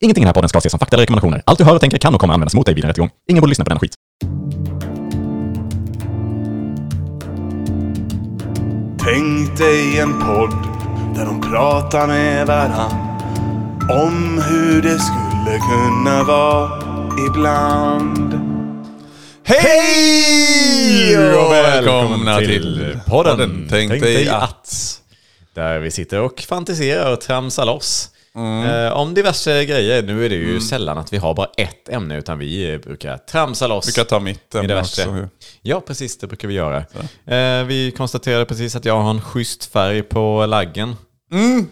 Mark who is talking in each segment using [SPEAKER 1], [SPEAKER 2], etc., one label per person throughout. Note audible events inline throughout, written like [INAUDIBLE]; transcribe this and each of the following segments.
[SPEAKER 1] Ingenting i den här podden ska ses som fakta eller rekommendationer. Allt du hör och tänker kan och kommer användas mot dig vid en rättegång. Ingen borde lyssna på den skit.
[SPEAKER 2] Tänk dig en podd där de pratar med varann om hur det skulle kunna vara ibland. Hej
[SPEAKER 3] och välkomna till podden. Tänk dig att.
[SPEAKER 4] Där vi sitter och fantiserar och tramsar loss.
[SPEAKER 3] Mm.
[SPEAKER 4] Eh, om diverse grejer. Nu är det ju sällan att vi har bara ett ämne utan vi eh, brukar tramsa loss.
[SPEAKER 3] Vi kan ta mitt
[SPEAKER 4] i
[SPEAKER 3] ämne
[SPEAKER 4] diverse.
[SPEAKER 3] också.
[SPEAKER 4] Ja, precis. Det brukar vi göra. Eh, vi konstaterade precis att jag har en schysst färg på laggen.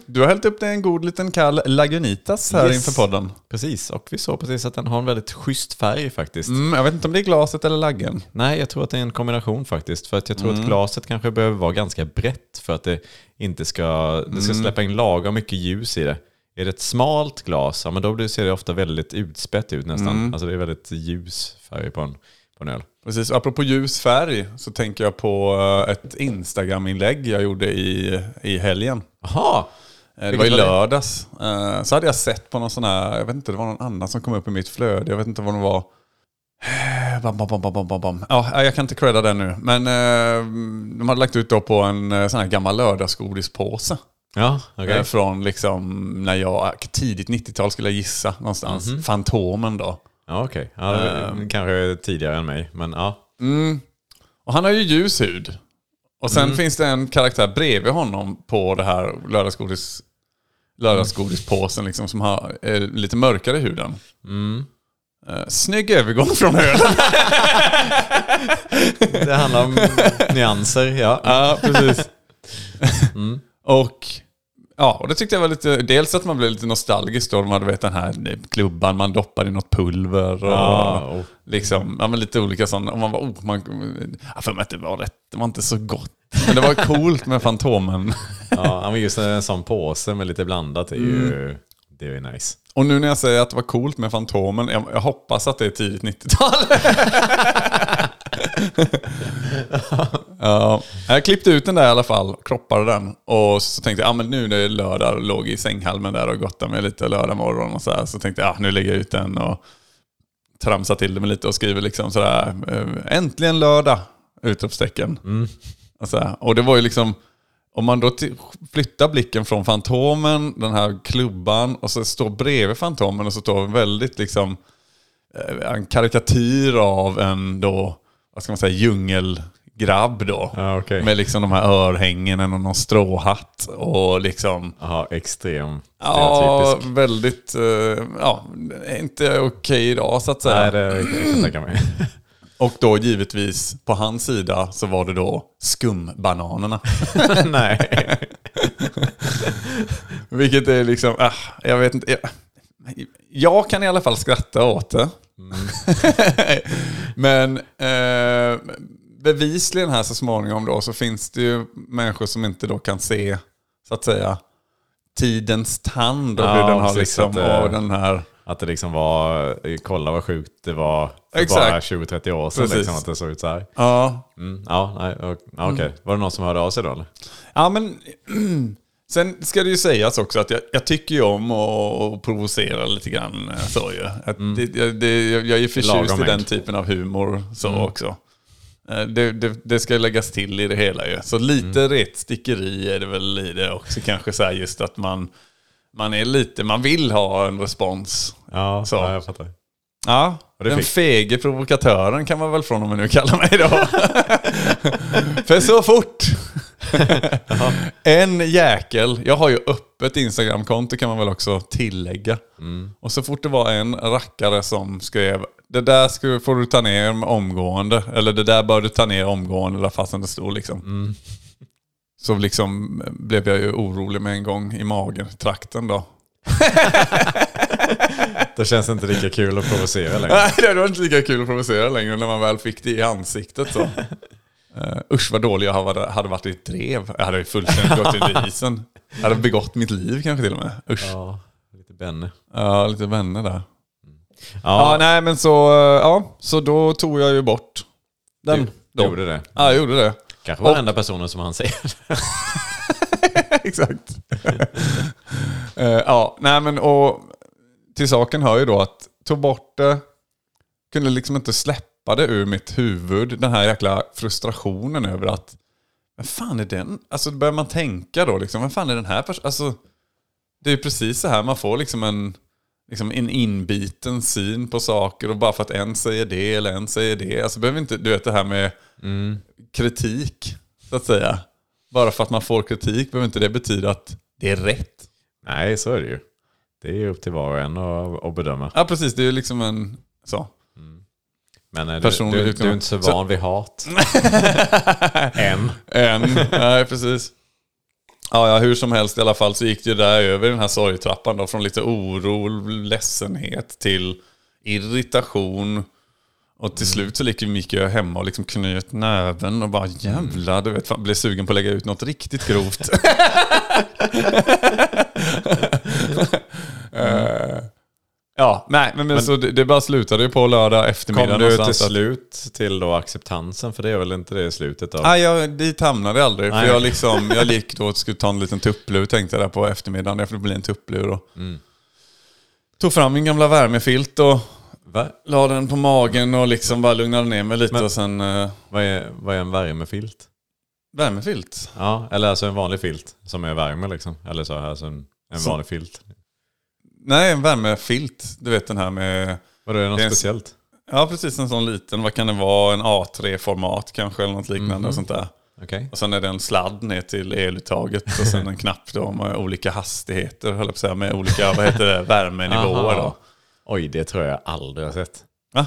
[SPEAKER 3] Du har hällt upp dig en god liten kall Lagunitas här
[SPEAKER 4] Yes.
[SPEAKER 3] inför podden.
[SPEAKER 4] Precis, och vi såg precis att den har en väldigt schysst färg faktiskt.
[SPEAKER 3] Mm, jag vet inte om det är glaset eller laggen.
[SPEAKER 4] Nej, jag tror att det är en kombination faktiskt. För att jag tror
[SPEAKER 3] Mm.
[SPEAKER 4] att glaset kanske behöver vara ganska brett för att det inte ska, det
[SPEAKER 3] Mm.
[SPEAKER 4] ska släppa in lagom mycket ljus i det. Är det ett smalt glas, ja, men då blir- ser det ofta väldigt utspätt ut nästan.
[SPEAKER 3] Mm.
[SPEAKER 4] Alltså det är väldigt ljus färg på en, på en öl.
[SPEAKER 3] Precis, och apropå ljus färg så tänker jag på eh, ett Instagram-inlägg jag gjorde i, i helgen.
[SPEAKER 4] Jaha!
[SPEAKER 3] Eh, Det var i
[SPEAKER 4] Vilket var
[SPEAKER 3] lördags. Eh, Så hade jag sett på någon sån här, jag vet inte, det var någon annan som kom upp i mitt flöde. Jag vet inte vad det var. Eh, Bam, bam, bam, bam, bam, bam, bam. Ja, eh, jag kan inte credda den nu. Men eh, de hade lagt ut då på en eh, sån här gammal lördagsgodispåse.
[SPEAKER 4] Ja, okej.
[SPEAKER 3] Eh, Från liksom när jag, tidigt 90-tal skulle jag gissa någonstans. Fantomen då.
[SPEAKER 4] Ja, okej. Ja, det
[SPEAKER 3] Eh.
[SPEAKER 4] är kanske tidigare än mig, men ja.
[SPEAKER 3] Och han har ju ljus hud. Och sen finns det en karaktär bredvid honom på det här lördagsgodis, lördagsgodispåsen liksom, som har är lite mörkare i huden. Eh, Snygg övergång från ölen. [LAUGHS]
[SPEAKER 4] Det handlar om nyanser, ja.
[SPEAKER 3] ja, precis. Och ja, och det tyckte jag var lite, dels att man blev lite nostalgisk då, de hade vet, den här klubban man doppar i något pulver. Och,
[SPEAKER 4] Ja, oh.
[SPEAKER 3] Liksom, ja, men lite olika sådana. Och man var, oh, man, jag för mig att det var rätt, det var inte så gott. Men det var coolt med Fantomen. [LAUGHS]
[SPEAKER 4] Ja, men just en sån påse med lite blandat är ju,
[SPEAKER 3] Mm.
[SPEAKER 4] det är ju nice.
[SPEAKER 3] Och nu när jag säger att det var coolt med Fantomen, jag, jag hoppas att det är tidigt 90-tal. [LAUGHS] ja, jag klippte ut den där i alla fall, kroppade den. Och så tänkte jag, ah, men nu när det är lördag, låg i sänghalmen där och gottade mig lite lördag morgon och så här. Så tänkte jag, ah, nu lägger jag ut den och tramsar till det med lite och skriver liksom sådär, eh, äntligen lördag! Utropstecken.
[SPEAKER 4] Mm.
[SPEAKER 3] Och, så här. och det var ju liksom, om man då till- flyttar blicken från Fantomen, den här klubban, och så står bredvid Fantomen och så står väldigt liksom eh, en karikatyr av en då, vad ska man säga, djungelgrabb då.
[SPEAKER 4] Ja, okej.
[SPEAKER 3] Med liksom de här örhängena och någon stråhatt och liksom...
[SPEAKER 4] Jaha, extrem.
[SPEAKER 3] Ja,
[SPEAKER 4] stereotypisk.
[SPEAKER 3] väldigt... eh, Ja, inte okej idag så att säga.
[SPEAKER 4] Nej, det kan jag
[SPEAKER 3] [LAUGHS]
[SPEAKER 4] tänka mig.
[SPEAKER 3] Och då givetvis på hans sida så var det då skumbananerna. [LAUGHS]
[SPEAKER 4] Nej.
[SPEAKER 3] Vilket är liksom, ah, jag vet inte. Jag, jag kan i alla fall skratta åt det.
[SPEAKER 4] Mm.
[SPEAKER 3] [LAUGHS] Men eh, bevisligen här så småningom då så finns det ju människor som inte då kan se, så att säga, tidens tand och
[SPEAKER 4] Ja,
[SPEAKER 3] hur den har
[SPEAKER 4] precis,
[SPEAKER 3] liksom,
[SPEAKER 4] att det-
[SPEAKER 3] och den här...
[SPEAKER 4] Att det liksom var, kolla vad sjukt det var för
[SPEAKER 3] Exakt.
[SPEAKER 4] bara 20-30 år sedan
[SPEAKER 3] Precis.
[SPEAKER 4] liksom, att det såg ut så här.
[SPEAKER 3] Ja,
[SPEAKER 4] Mm, ja, nej, och- ja, okej.
[SPEAKER 3] Mm.
[SPEAKER 4] Var det någon som hörde av sig då eller?
[SPEAKER 3] Ja, men [CLEARS THROAT] sen ska det ju sägas också att jag, jag tycker ju om att att provocera lite grann. eh, Så ju. Att det, jag, det, jag jag är ju förtjust
[SPEAKER 4] Mm. Lagom
[SPEAKER 3] i den
[SPEAKER 4] mängd. Mm.
[SPEAKER 3] typen av humor så också. Eh, Det, det, det ska läggas till i det hela ju. Så lite
[SPEAKER 4] Mm.
[SPEAKER 3] retstickeri är det väl i det också kanske. Så här just att man, man är lite, man vill ha en respons.
[SPEAKER 4] Ja,
[SPEAKER 3] Så.
[SPEAKER 4] ja jag fattar.
[SPEAKER 3] Ja,
[SPEAKER 4] det
[SPEAKER 3] den
[SPEAKER 4] fick-
[SPEAKER 3] fege provokatören kan man väl från och med nu kalla mig då. För så fort en jäkel, jag har ju öppet Instagramkonto kan man väl också tillägga. Och så fort det var en rackare som skrev det där ska, får du ta ner omgående, eller det där bör du ta ner omgående, där fastän det stod liksom. Så liksom blev jag ju orolig med en gång i magen, trakten då.
[SPEAKER 4] Då känns det inte lika kul att
[SPEAKER 3] [LAUGHS]
[SPEAKER 4] provocera längre.
[SPEAKER 3] Nej, det var inte lika kul att provocera längre när man väl fick det i ansiktet. Så. Eh, usch vad dålig jag hade, hade varit i ett drev. Jag hade ju fullständigt gått [LAUGHS] under isen. Jag hade begått mitt liv kanske till och med. Usch. Ja,
[SPEAKER 4] Ja, lite Benny.
[SPEAKER 3] lite vänner där. Ja,
[SPEAKER 4] Ja,
[SPEAKER 3] nej men så, eh, ja, så då tog jag ju bort den.
[SPEAKER 4] du gjorde det.
[SPEAKER 3] Ja, jag gjorde det.
[SPEAKER 4] Kanske var den enda personen som
[SPEAKER 3] [LAUGHS]
[SPEAKER 4] han ser.
[SPEAKER 3] Exakt. Eh, ja, nej men och till saken hör ju då att tog bort det, kunde liksom inte släppa det ur mitt huvud. Den här jäkla frustrationen över att, vem fan är den? Alltså då börjar man tänka då liksom, vem fan är den här personen? Alltså, det är ju precis så här man får liksom en, liksom en inbiten syn på saker och bara för att en säger det eller en säger det. Alltså behöver inte, du vet det här med kritik, så att säga. Bara för att man får kritik behöver inte det betyda att det är rätt.
[SPEAKER 4] Nej, så är det ju. Det är ju upp till var och en att, att bedöma.
[SPEAKER 3] Ja, precis. Det är ju liksom en... Så.
[SPEAKER 4] Men eh, du,
[SPEAKER 3] Personlig
[SPEAKER 4] du, du är
[SPEAKER 3] utgång.
[SPEAKER 4] inte så
[SPEAKER 3] Så-
[SPEAKER 4] van
[SPEAKER 3] [LAUGHS]
[SPEAKER 4] vid hat. Än. [LAUGHS]
[SPEAKER 3] En. Nej, precis. Ja, ja, hur som helst i alla fall så gick det ju där över i den här sorgtrappan då. Från lite oro, ledsenhet till irritation. Och
[SPEAKER 4] Mm.
[SPEAKER 3] till slut så gick- gick jag hemma och liksom knöt näven och bara
[SPEAKER 4] Mm.
[SPEAKER 3] jävlar, du vet, fan, blev sugen på att lägga ut något riktigt
[SPEAKER 4] [LAUGHS]
[SPEAKER 3] grovt. [LAUGHS] Eh, ja, nej, men, men, så det, det bara slutade ju på lördag eftermiddag.
[SPEAKER 4] Kom du till
[SPEAKER 3] någonstans att-
[SPEAKER 4] slut till då acceptansen? För det är väl inte det i slutet av...
[SPEAKER 3] Nej, jag, dit hamnade jag aldrig.
[SPEAKER 4] Nej.
[SPEAKER 3] För jag, liksom,
[SPEAKER 4] [LAUGHS]
[SPEAKER 3] jag gick då och skulle ta en liten tupplur, tänkte jag där på eftermiddagen. Det får bli en tupplur. Och
[SPEAKER 4] Mm.
[SPEAKER 3] Tog fram min gamla värmefilt och
[SPEAKER 4] Va?
[SPEAKER 3] la den på magen och liksom bara lugnade ner mig lite. och sen eh,
[SPEAKER 4] Vad, är, vad är en värmefilt?
[SPEAKER 3] värmefilt.
[SPEAKER 4] Ja, eller alltså en vanlig filt som är värme liksom. Eller så, alltså en, en
[SPEAKER 3] Så-
[SPEAKER 4] vanlig filt.
[SPEAKER 3] Nej, en värmefilt. Du vet den här med...
[SPEAKER 4] Vadå, är det något
[SPEAKER 3] Det är en-
[SPEAKER 4] speciellt?
[SPEAKER 3] Ja, precis en sån liten. Vad kan det vara? En A3-format kanske eller något liknande.
[SPEAKER 4] Mhm.
[SPEAKER 3] Och sånt där.
[SPEAKER 4] Okej.
[SPEAKER 3] Och sen är det en sladd ner till eluttaget och sen
[SPEAKER 4] [LAUGHS]
[SPEAKER 3] en knapp då med olika hastigheter, höll jag på att säga, med olika vad heter det, värmenivåer. Då.
[SPEAKER 4] Aha. Oj, det tror jag aldrig har sett.
[SPEAKER 3] Va?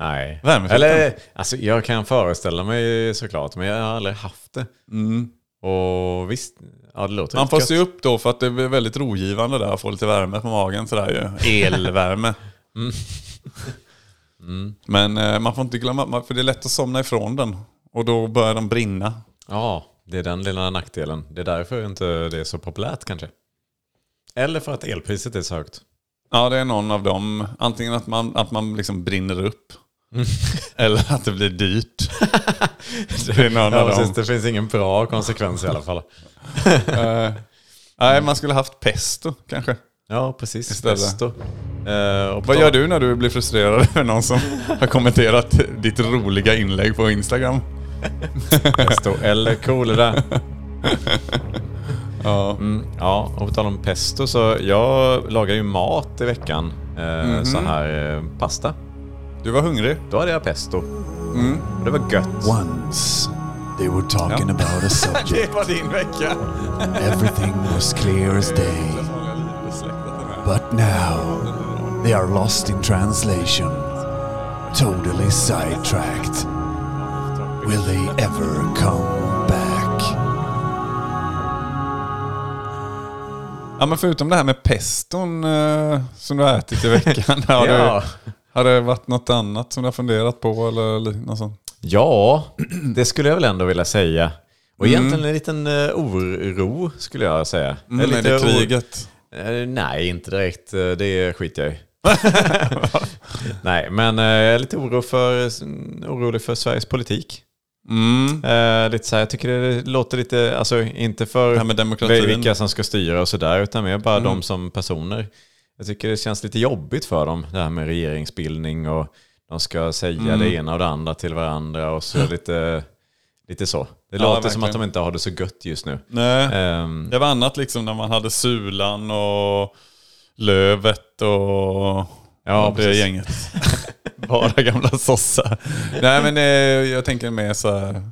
[SPEAKER 4] Nej.
[SPEAKER 3] Värmefilten?
[SPEAKER 4] Eller, alltså jag kan föreställa mig såklart, men jag har aldrig haft det. Och visst, ja det låter
[SPEAKER 3] Mm. Man
[SPEAKER 4] rätt
[SPEAKER 3] får
[SPEAKER 4] gött.
[SPEAKER 3] se upp då för att det är väldigt rogivande där att få lite värme på magen sådär ju. Elvärme.
[SPEAKER 4] [LAUGHS] Mm.
[SPEAKER 3] Men eh, man får inte glömma, man- för det är lätt att somna ifrån den. Och då börjar den brinna.
[SPEAKER 4] Ja, det är den lilla nackdelen. Det är därför inte det är så populärt kanske. Eller för att elpriset är så högt.
[SPEAKER 3] Ja, det är någon av dem. Antingen att man, att man liksom brinner upp.
[SPEAKER 4] Mm.
[SPEAKER 3] [LAUGHS] Eller att det blir
[SPEAKER 4] [LAUGHS]
[SPEAKER 3] dyrt. det är någon
[SPEAKER 4] Ja,
[SPEAKER 3] av dem.
[SPEAKER 4] precis, det finns ingen bra konsekvens i alla fall.
[SPEAKER 3] Eh, nej, man skulle haft pesto kanske.
[SPEAKER 4] Ja, precis.
[SPEAKER 3] Istället.
[SPEAKER 4] Pesto. Eh, och
[SPEAKER 3] Vad gör du när du blir frustrerad [LAUGHS] över någon som har kommenterat ditt roliga inlägg på Instagram?
[SPEAKER 4] Pesto eller kolera. [LAUGHS] ja. Mm, ja, och på tal om pesto så jag lagar ju mat i veckan. Eh, Så här eh, pasta.
[SPEAKER 3] Du var hungrig.
[SPEAKER 4] Då hade jag pesto. Och det var gött.
[SPEAKER 5] Once they were talking about a subject.
[SPEAKER 4] [LAUGHS]
[SPEAKER 3] Det var din vecka.
[SPEAKER 5] Everything was clear as day. But now they are lost in translation. Totally sidetracked. Will they ever come back?
[SPEAKER 3] Ja, men förutom det här med peston eh, som du har ätit i [LAUGHS] veckan. Har,
[SPEAKER 4] Ja.
[SPEAKER 3] du, har det varit något annat som du har funderat på eller li- något sånt?
[SPEAKER 4] Ja, det skulle jag väl ändå vilja säga. Och egentligen en liten eh, oro skulle jag säga.
[SPEAKER 3] Mm,
[SPEAKER 4] Lite
[SPEAKER 3] är det
[SPEAKER 4] oro-
[SPEAKER 3] kriget?
[SPEAKER 4] Eh, nej, inte direkt. Eh, Det
[SPEAKER 3] [LAUGHS]
[SPEAKER 4] skiter jag i. nej, men eh, jag är lite oro för, orolig för Sveriges politik.
[SPEAKER 3] Mm.
[SPEAKER 4] Eh, lite så här, jag tycker det låter lite, alltså inte för
[SPEAKER 3] Det här med demokratin. Mm.
[SPEAKER 4] vilka som ska styra och sådär, utan mer bara de som personer. Jag tycker det känns lite jobbigt för dem, det här med regeringsbildning och de ska säga
[SPEAKER 3] Mm.
[SPEAKER 4] det ena och det andra till varandra
[SPEAKER 3] [LAUGHS]
[SPEAKER 4] och så lite, lite så. Det låter som
[SPEAKER 3] verkligen.
[SPEAKER 4] att de inte har det så gött just nu.
[SPEAKER 3] Nej.
[SPEAKER 4] Ehm,
[SPEAKER 3] Det var annat liksom när man hade Sulan och Lövet och
[SPEAKER 4] Ja,
[SPEAKER 3] och det
[SPEAKER 4] precis.
[SPEAKER 3] gänget. [LAUGHS] Bara gamla sossar. Nej men eh, jag tänker mer så här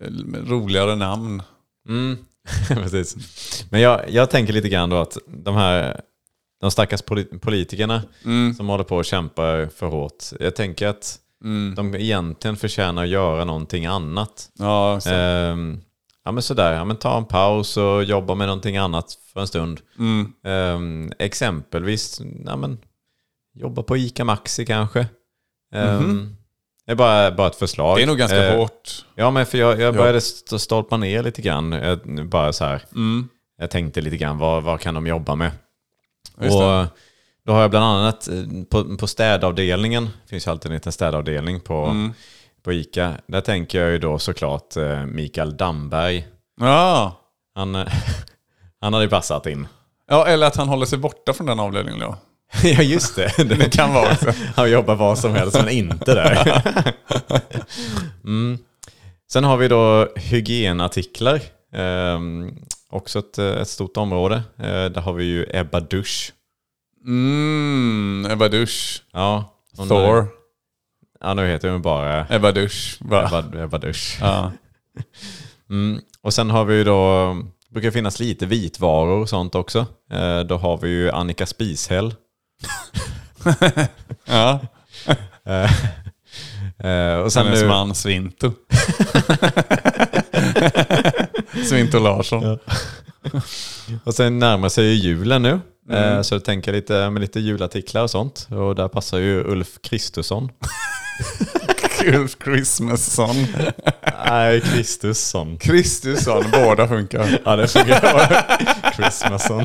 [SPEAKER 3] eh, roligare namn.
[SPEAKER 4] Mm. [LAUGHS] Precis. Men jag, jag tänker lite grann då att de här de stackars poli- politikerna
[SPEAKER 3] Mm.
[SPEAKER 4] som håller på och kämpar för hårt. Jag tänker att
[SPEAKER 3] Mm.
[SPEAKER 4] de egentligen förtjänar att göra någonting annat.
[SPEAKER 3] Ja, så.
[SPEAKER 4] Ehm, ja men sådär, ja, men ta en paus och jobba med någonting annat för en stund.
[SPEAKER 3] Mm.
[SPEAKER 4] Ehm, exempelvis, ja, men, jobba på ICA Maxi kanske. Ehm, Det är bara, bara ett förslag.
[SPEAKER 3] Mhm. det är nog ganska
[SPEAKER 4] Ehm,
[SPEAKER 3] hårt.
[SPEAKER 4] Ja, men för jag, jag började st- stolpa ner lite grann. Jag, bara så här. Jag tänkte lite grann, vad, vad kan de jobba med?
[SPEAKER 3] Just
[SPEAKER 4] och då har jag bland annat eh, på, på städavdelningen, det finns ju alltid en liten städavdelning på, på ICA. Där tänker jag ju då såklart eh, Mikael Damberg.
[SPEAKER 3] Ja.
[SPEAKER 4] [LAUGHS] Han, eh, han hade ju passat in.
[SPEAKER 3] ja, eller att han håller sig borta från den avdelningen då.
[SPEAKER 4] ja, just [LAUGHS] det.
[SPEAKER 3] Det kan vara också.
[SPEAKER 4] Han jobbar var som helst men inte där. Mm. Sen har vi då hygienartiklar. Ehm, också ett, eh, ett stort område. Eh, där har vi ju Ebba Dusch.
[SPEAKER 3] Mm, Ebba Dusch.
[SPEAKER 4] Ja, hon-
[SPEAKER 3] Thor.
[SPEAKER 4] Ja, nu heter hon bara
[SPEAKER 3] Ebba Dusch. Va?
[SPEAKER 4] Ebba, Ebba Dusch.
[SPEAKER 3] Ja.
[SPEAKER 4] Mm. Och sen har vi ju då, brukar finnas lite vitvaror och sånt också. Eh, då har vi ju Annika Spishäll.
[SPEAKER 3] [LAUGHS]
[SPEAKER 4] [LAUGHS]
[SPEAKER 3] ja.
[SPEAKER 4] Eh, och sen
[SPEAKER 3] Hennes
[SPEAKER 4] nu,
[SPEAKER 3] man Svinto. [LAUGHS] Svinto Larsson.
[SPEAKER 4] Och sen närmar sig ju julen nu.
[SPEAKER 3] Mm.
[SPEAKER 4] Eh, Så jag tänker lite med lite julartiklar och sånt. Och där passar ju Ulf Kristersson.
[SPEAKER 3] Ulf Christmasson.
[SPEAKER 4] Nej, Kristusson.
[SPEAKER 3] Kristusson, båda funkar.
[SPEAKER 4] Ja, det funkar. Christmasson.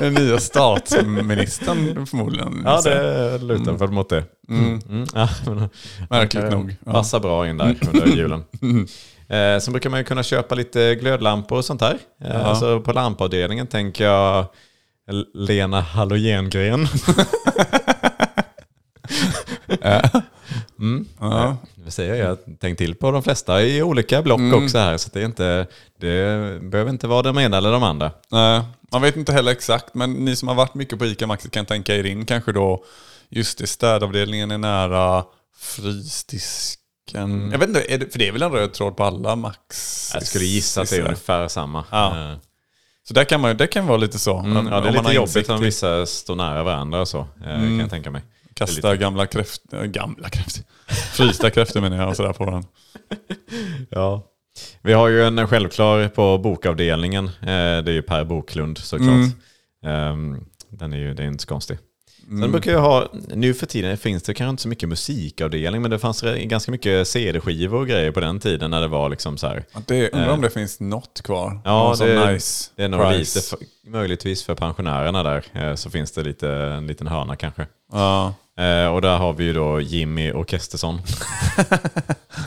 [SPEAKER 3] Den nya statsministern förmodligen.
[SPEAKER 4] Ja, det lutar väl mot det. Mm. Ja, men,
[SPEAKER 3] Märkligt
[SPEAKER 4] eh,
[SPEAKER 3] nog. Ja.
[SPEAKER 4] Passar bra in där [LAUGHS] under julen. Eh, sen brukar man ju kunna köpa lite glödlampor och sånt där. Eh, Alltså på lampavdelningen tänker jag Lena Hallogengren. [LAUGHS]
[SPEAKER 3] Ja.
[SPEAKER 4] Vad säger Eh, mm. jag? jag tänkt till på de flesta i olika block också här. Så det, är inte, det behöver inte vara de ena eller de andra.
[SPEAKER 3] Nej, man vet inte heller exakt, men ni som har varit mycket på ICA Maxi kan tänka er in kanske då just i städavdelningen är nära frysdisken. Jag vet inte, är det, för det är väl en röd tråd på alla Max?
[SPEAKER 4] Mm. Jag skulle gissa att det är ungefär samma.
[SPEAKER 3] Ja.
[SPEAKER 4] Eh,
[SPEAKER 3] Så där kan man ju- det kan vara lite så.
[SPEAKER 4] Mm, ja, det är
[SPEAKER 3] man har
[SPEAKER 4] lite jobbigt
[SPEAKER 3] insikt
[SPEAKER 4] om
[SPEAKER 3] till-
[SPEAKER 4] vissa står nära varandra och så, eh, kan jag tänka mig.
[SPEAKER 3] Kasta gamla kräftor, gamla kräftor, frysta kräftor menar jag och sådär på varandra.
[SPEAKER 4] Ja. Vi har ju en självklar på bokavdelningen. Eh, Det är ju Per Boklund
[SPEAKER 3] Mm.
[SPEAKER 4] såklart. Ehm, Den är ju det är inte så konstig.
[SPEAKER 3] Mm.
[SPEAKER 4] Sen brukar jag ha, nu för tiden finns det kanske inte så mycket musikavdelning, men det fanns re- ganska mycket CD-skivor och grejer på den tiden när det var liksom så här.
[SPEAKER 3] Ja, Det, undrar om det finns något kvar?
[SPEAKER 4] Ja,
[SPEAKER 3] Någon sån
[SPEAKER 4] det,
[SPEAKER 3] nice
[SPEAKER 4] det är nog
[SPEAKER 3] price.
[SPEAKER 4] lite, för, möjligtvis för pensionärerna där, eh, så finns det lite, en liten hörna kanske.
[SPEAKER 3] Ja.
[SPEAKER 4] Eh, Och där har vi ju då Jimmy Åkesson.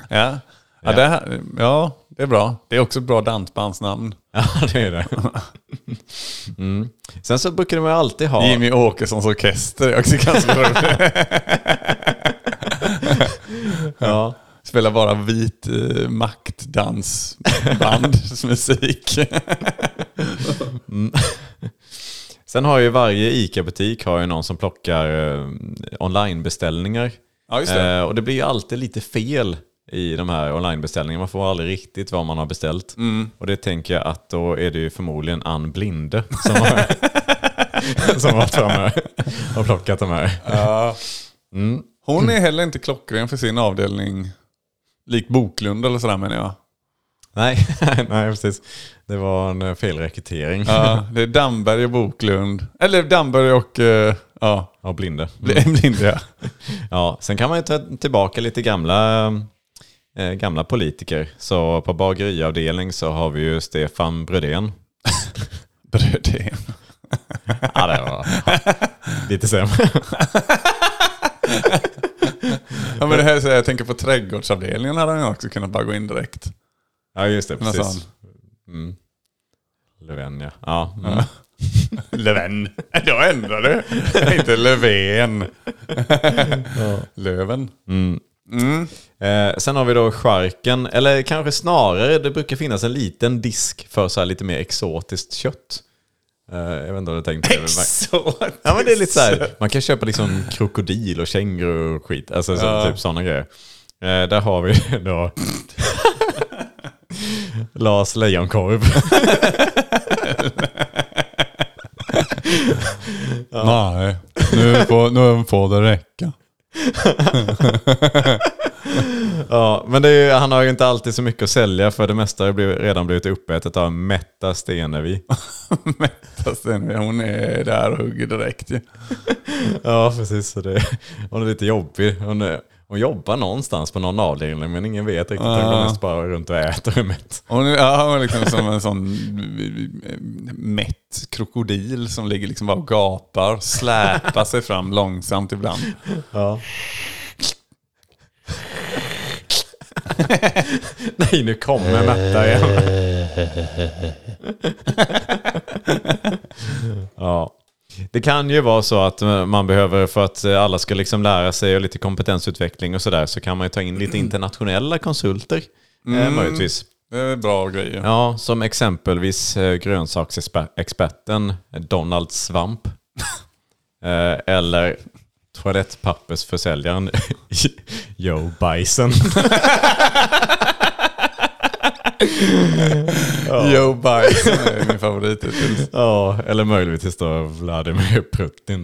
[SPEAKER 3] Ja. Ja, det här, ja, det är bra. Det är också ett bra dansbandsnamn.
[SPEAKER 4] [LAUGHS] Ja, det
[SPEAKER 3] [LAUGHS]
[SPEAKER 4] är det. Mm. Sen så brukar de ju alltid ha...
[SPEAKER 3] Jimmy Åkessons orkester är också ganska roligt.
[SPEAKER 4] [LAUGHS] Ja.
[SPEAKER 3] Spelar bara vit eh,
[SPEAKER 4] [LAUGHS]
[SPEAKER 3] maktdansbandsmusik.
[SPEAKER 4] Sen har ju varje ICA-butik har ju någon som plockar eh, onlinebeställningar.
[SPEAKER 3] ja, just det.
[SPEAKER 4] Eh, och det blir ju alltid lite fel i de här onlinebeställningarna. Man får aldrig riktigt vad man har beställt.
[SPEAKER 3] Mm.
[SPEAKER 4] Och det tänker jag att då är det ju förmodligen Ann Blinde som har, som har [LAUGHS] varit framme och plockat de här.
[SPEAKER 3] Hon är heller inte klockren för sin avdelning. Lik Boklund eller sådär menar jag.
[SPEAKER 4] Nej, [LAUGHS] nej precis. Det var en eh, felrekrytering
[SPEAKER 3] Ja, det är Damberg och Boklund. Eller Damberg och... eh, ja,
[SPEAKER 4] av [LAUGHS] Blinde.
[SPEAKER 3] Blindria.
[SPEAKER 4] Ja, sen kan man ju ta tillbaka lite gamla, eh, gamla politiker. Så på bageriavdelning så har vi ju Stefan Brödén.
[SPEAKER 3] Brödén.
[SPEAKER 4] Ja, det var [LAUGHS] lite sämre.
[SPEAKER 3] Ja, men det här är så här, jag tänker på trädgårdsavdelningen hade han ju också kunnat bara gå in direkt.
[SPEAKER 4] Ja, just det.
[SPEAKER 3] Någon
[SPEAKER 4] Precis.
[SPEAKER 3] sån.
[SPEAKER 4] Mm. Löfven, ja. ja mm.
[SPEAKER 3] [LAUGHS] Löven. Jag ändrar det. inte Löfven. Löven.
[SPEAKER 4] Eh, sen har vi då skärken, eller kanske snarare, det brukar finnas en liten disk för så här lite mer exotiskt kött. Eh, jag vet inte om du tänkt på det. men- Ja, men det är lite så här, man kan köpa liksom krokodil och känguru och skit. Alltså så, typ sådana grejer. Eh, där har vi [LAUGHS] då Lars Lejonkorv. [LAUGHS]
[SPEAKER 3] Nej, nu får, nu får det räcka. [LAUGHS]
[SPEAKER 4] ja, men det är, ju- han har ju inte alltid så mycket att sälja för det mesta har blivit, redan blivit uppätet av Metta Stenevi.
[SPEAKER 3] Mätta Stenberg, hon är där och hugger direkt ju.
[SPEAKER 4] ja, precis. Så det, hon är lite jobbig. Hon, är, hon jobbar någonstans på någon avdelning men ingen vet riktigt. Hon går mest bara runt och äter och är mätt. [LAUGHS]
[SPEAKER 3] Hon är, ja, hon är liksom som en sån eh, mätt krokodil som ligger liksom bara och gapar, släpar sig fram långsamt ibland.
[SPEAKER 4] Nej, nu kommer Märta igen. [LAUGHS] ja. Det kan ju vara så att eh, man behöver, för att eh, alla ska liksom lära sig och lite kompetensutveckling och sådär, så kan man ju ta in lite internationella konsulter. Eh, möjligtvis.
[SPEAKER 3] Det är bra grejer.
[SPEAKER 4] Ja, som exempelvis eh, grönsaksexperten
[SPEAKER 3] [LAUGHS]
[SPEAKER 4] Donald Svamp. Eh, Eller toalettpappersförsäljaren [LAUGHS] Joe
[SPEAKER 3] [LAUGHS]
[SPEAKER 4] Bison.
[SPEAKER 3] Joe Bison är typ min favorit hittills.
[SPEAKER 4] Ja, eller möjligtvis då Vladimir Putin